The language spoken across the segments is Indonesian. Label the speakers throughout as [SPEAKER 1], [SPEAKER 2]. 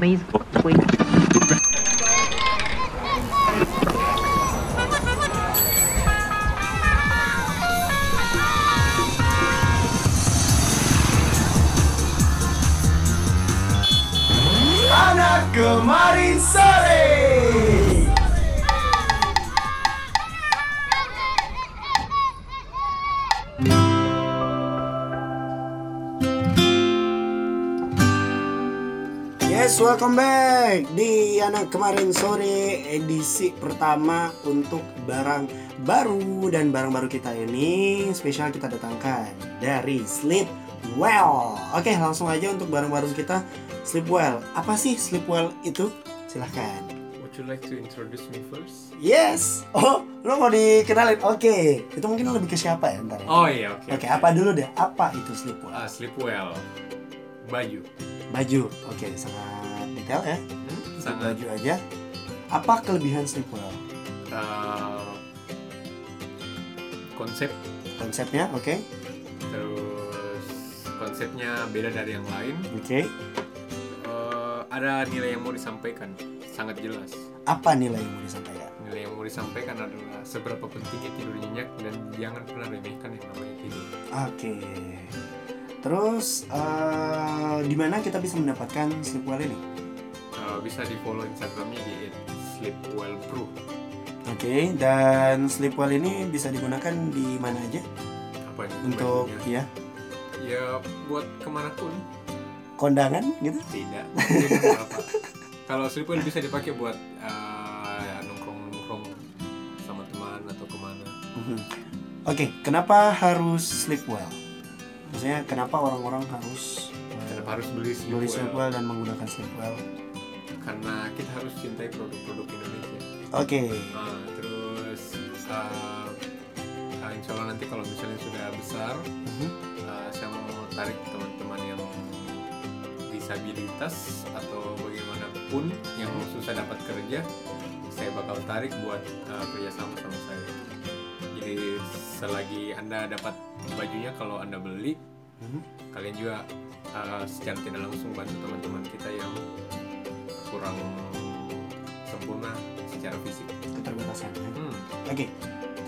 [SPEAKER 1] maze quick.
[SPEAKER 2] Anak kemarin sore.
[SPEAKER 3] Yes, welcome back di anak kemarin sore edisi pertama untuk barang baru dan barang baru kita ini spesial kita datangkan dari Sleep Well. Oke, langsung aja untuk barang baru kita Sleep Well. Apa sih Sleep Well itu? Silahkan.
[SPEAKER 4] Would you like to introduce me first?
[SPEAKER 3] Yes. Oh, lo mau dikenalin? Oke, itu mungkin lebih ke siapa ya ntar? ya?
[SPEAKER 4] Oh iya, oke.
[SPEAKER 3] Oke, apa dulu deh? Apa itu Sleep Well?
[SPEAKER 4] Ah, sleep well. Bayu.
[SPEAKER 3] Baju. Oke, sangat detail ya.
[SPEAKER 4] Sangat
[SPEAKER 3] Baju aja. Apa kelebihan Sleep Well?
[SPEAKER 4] uh, konsep
[SPEAKER 3] konsepnya oke
[SPEAKER 4] terus konsepnya beda dari yang lain.
[SPEAKER 3] oke
[SPEAKER 4] Uh, ada nilai yang mau disampaikan, sangat jelas.
[SPEAKER 3] apa nilai yang mau disampaikan
[SPEAKER 4] Nilai yang mau disampaikan adalah seberapa pentingnya tidur nyenyak dan jangan pernah remehkan yang namanya tidur.
[SPEAKER 3] oke terus eh, di mana kita bisa mendapatkan sleepwell ini
[SPEAKER 4] Uh, bisa di follow Instagramnya di @sleepwellpro.
[SPEAKER 3] oke dan sleepwell ini bisa digunakan di mana aja
[SPEAKER 4] Apa itu?
[SPEAKER 3] untuk
[SPEAKER 4] Bajunya?
[SPEAKER 3] ya
[SPEAKER 4] ya buat kemanapun
[SPEAKER 3] kondangan gitu
[SPEAKER 4] Tidak. Mungkin beberapa. Kalau sleeper bisa dipakai buat eh, nongkrong-nongkrong sama teman atau kemana.
[SPEAKER 3] Mhm. oke kenapa harus sleepwell maksudnya kenapa orang-orang harus eh,
[SPEAKER 4] Kenapa Iya, harus beli sleepwear?
[SPEAKER 3] beli sleepwell dan menggunakan sleepwell
[SPEAKER 4] Karena kita harus cintai produk-produk Indonesia.
[SPEAKER 3] oke
[SPEAKER 4] Nah, terus eh, eh, insya Allah nanti kalau misalnya sudah besar,
[SPEAKER 3] Mhm.
[SPEAKER 4] eh, saya mau tarik teman-teman yang disabilitas atau bagaimanapun yang susah dapat kerja, saya bakal tarik buat eh, kerjasama sama saya. Jadi selagi anda dapat bajunya kalau anda beli,
[SPEAKER 3] Mhm.
[SPEAKER 4] kalian juga eh, secara tidak langsung bantu teman-teman kita yang kurang sempurna secara fisik.
[SPEAKER 3] keterbatasan ya.
[SPEAKER 4] Hmm.
[SPEAKER 3] Oke,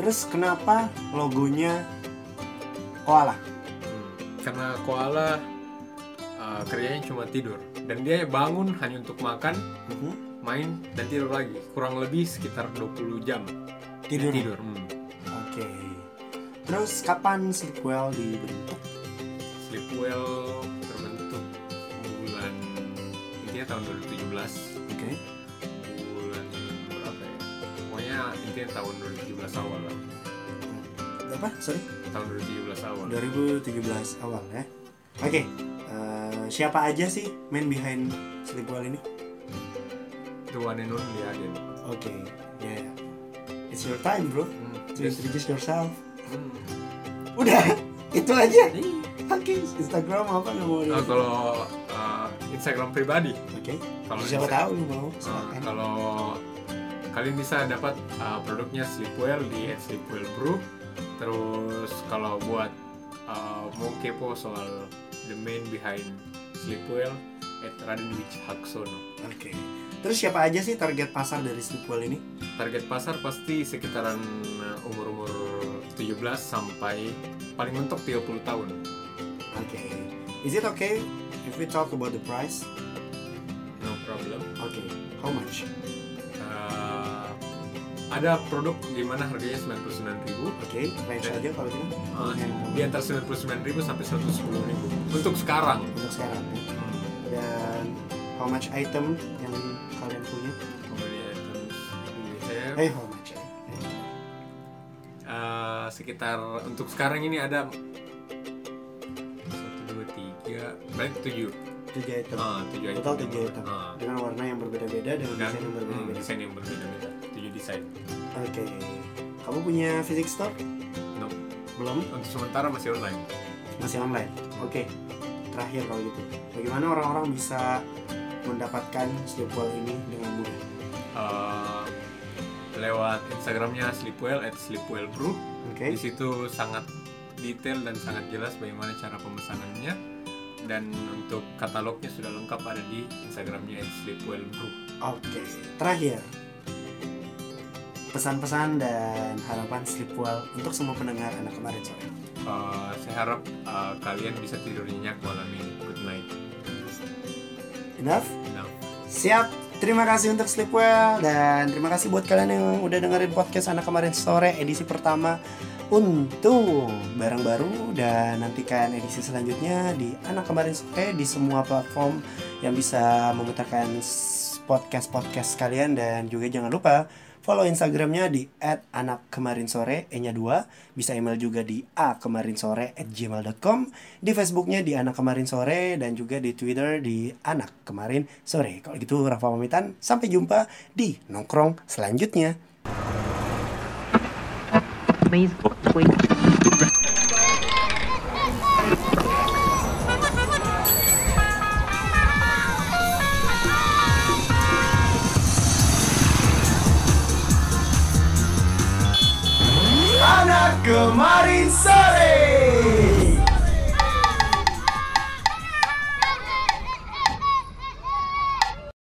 [SPEAKER 3] terus kenapa logonya koala?
[SPEAKER 4] Hmm. Karena koala uh, kerjanya cuma tidur dan dia bangun hanya untuk makan,
[SPEAKER 3] Mhm.
[SPEAKER 4] main dan tidur lagi. Kurang lebih sekitar 20 jam dia
[SPEAKER 3] Tidur.
[SPEAKER 4] tidur. Hmm.
[SPEAKER 3] Oke. Terus kapan sequel dibentuk?
[SPEAKER 4] Sleep well terbentuk bulan intinya tahun 2017
[SPEAKER 3] Oke.
[SPEAKER 4] bulan berapa ya? Pokoknya intinya tahun 2017 awal lah.
[SPEAKER 3] Berapa? Sorry.
[SPEAKER 4] Tahun 2017 awal.
[SPEAKER 3] Ya. 2017 awal ya. Oke. eh, siapa aja sih main behind sequel ini?
[SPEAKER 4] The one and only Aden.
[SPEAKER 3] Oke. Ya. It's your time, bro.
[SPEAKER 4] Hmm.
[SPEAKER 3] To introduce yourself.
[SPEAKER 4] Hmm.
[SPEAKER 3] Udah. Itu aja. Oke. Instagram apa nggak mau?
[SPEAKER 4] Iya. Nah,
[SPEAKER 3] Oke.
[SPEAKER 4] kalau uh, Instagram pribadi Kalau
[SPEAKER 3] Siapa
[SPEAKER 4] Instagram-
[SPEAKER 3] tahu lu mau?
[SPEAKER 4] Nah,
[SPEAKER 3] Silakan.
[SPEAKER 4] kalau kalian bisa dapat uh, produknya Sleepwell di Sleepwell Brew. Terus kalau buat uh, mau kepo soal the main behind Sleepwell at Raden Wich Haksono.
[SPEAKER 3] Oke. Terus siapa aja sih target pasar dari sequel ini?
[SPEAKER 4] Target pasar pasti sekitaran uh, umur-umur 17 sampai paling mentok 30 tahun.
[SPEAKER 3] Okay. Is it okay if we talk about the price?
[SPEAKER 4] No problem.
[SPEAKER 3] Okay. How much?
[SPEAKER 4] Uh, ada produk di mana harganya 99.000
[SPEAKER 3] Okay. Range aja kalau gitu.
[SPEAKER 4] Uh,
[SPEAKER 3] Yang
[SPEAKER 4] di antara 99.000 sampai 110.000 untuk sekarang.
[SPEAKER 3] untuk sekarang. ya. Dan how much item yang kalian punya?
[SPEAKER 4] Kemudian Hmm, terus ya.
[SPEAKER 3] Eh,
[SPEAKER 4] Indonesia,
[SPEAKER 3] how much? eh?
[SPEAKER 4] uh, sekitar untuk sekarang ini ada 1 2 3 baik 7.
[SPEAKER 3] Tiga item.
[SPEAKER 4] Ah, 7
[SPEAKER 3] Total tiga item.
[SPEAKER 4] Ah,
[SPEAKER 3] Dengan warna yang berbeda-beda dengan
[SPEAKER 4] dan
[SPEAKER 3] desain yang
[SPEAKER 4] hmm,
[SPEAKER 3] berbeda-beda.
[SPEAKER 4] desain yang berbeda-beda. 7 desain.
[SPEAKER 3] Oke. Kamu punya physics store?
[SPEAKER 4] No.
[SPEAKER 3] Belum.
[SPEAKER 4] Untuk sementara masih online.
[SPEAKER 3] masih online. Oke, terakhir kalau gitu, bagaimana orang-orang bisa mendapatkan sleepwell ini dengan mudah?
[SPEAKER 4] Uh, lewat Instagramnya sleepwell at sleepwellbrew.
[SPEAKER 3] Oke,
[SPEAKER 4] Di situ sangat detail dan sangat jelas bagaimana cara pemesanannya dan untuk katalognya sudah lengkap ada di Instagramnya Sleepwell Brew.
[SPEAKER 3] Oke, terakhir pesan-pesan dan harapan Sleepwell untuk semua pendengar anak kemarin sore.
[SPEAKER 4] Eh, saya harap eh, kalian bisa tidur nyenyak malam ini. Good night.
[SPEAKER 3] Enough?
[SPEAKER 4] Now.
[SPEAKER 3] Siap. Terima kasih untuk Sleepwell dan terima kasih buat kalian yang udah dengerin podcast anak kemarin sore edisi pertama untuk barang baru dan nantikan edisi selanjutnya di anak kemarin sore di semua platform yang bisa memutarkan s- podcast-podcast kalian dan juga jangan lupa follow Instagramnya di @anak kemarin sore e nya 2 bisa email juga di a kemarin sore gmail.com di Facebooknya di anak kemarin sore dan juga di Twitter di anak kemarin sore kalau gitu Rafa pamitan sampai jumpa di nongkrong selanjutnya
[SPEAKER 1] Facebook, Twitter.
[SPEAKER 2] Anak kemarin sore.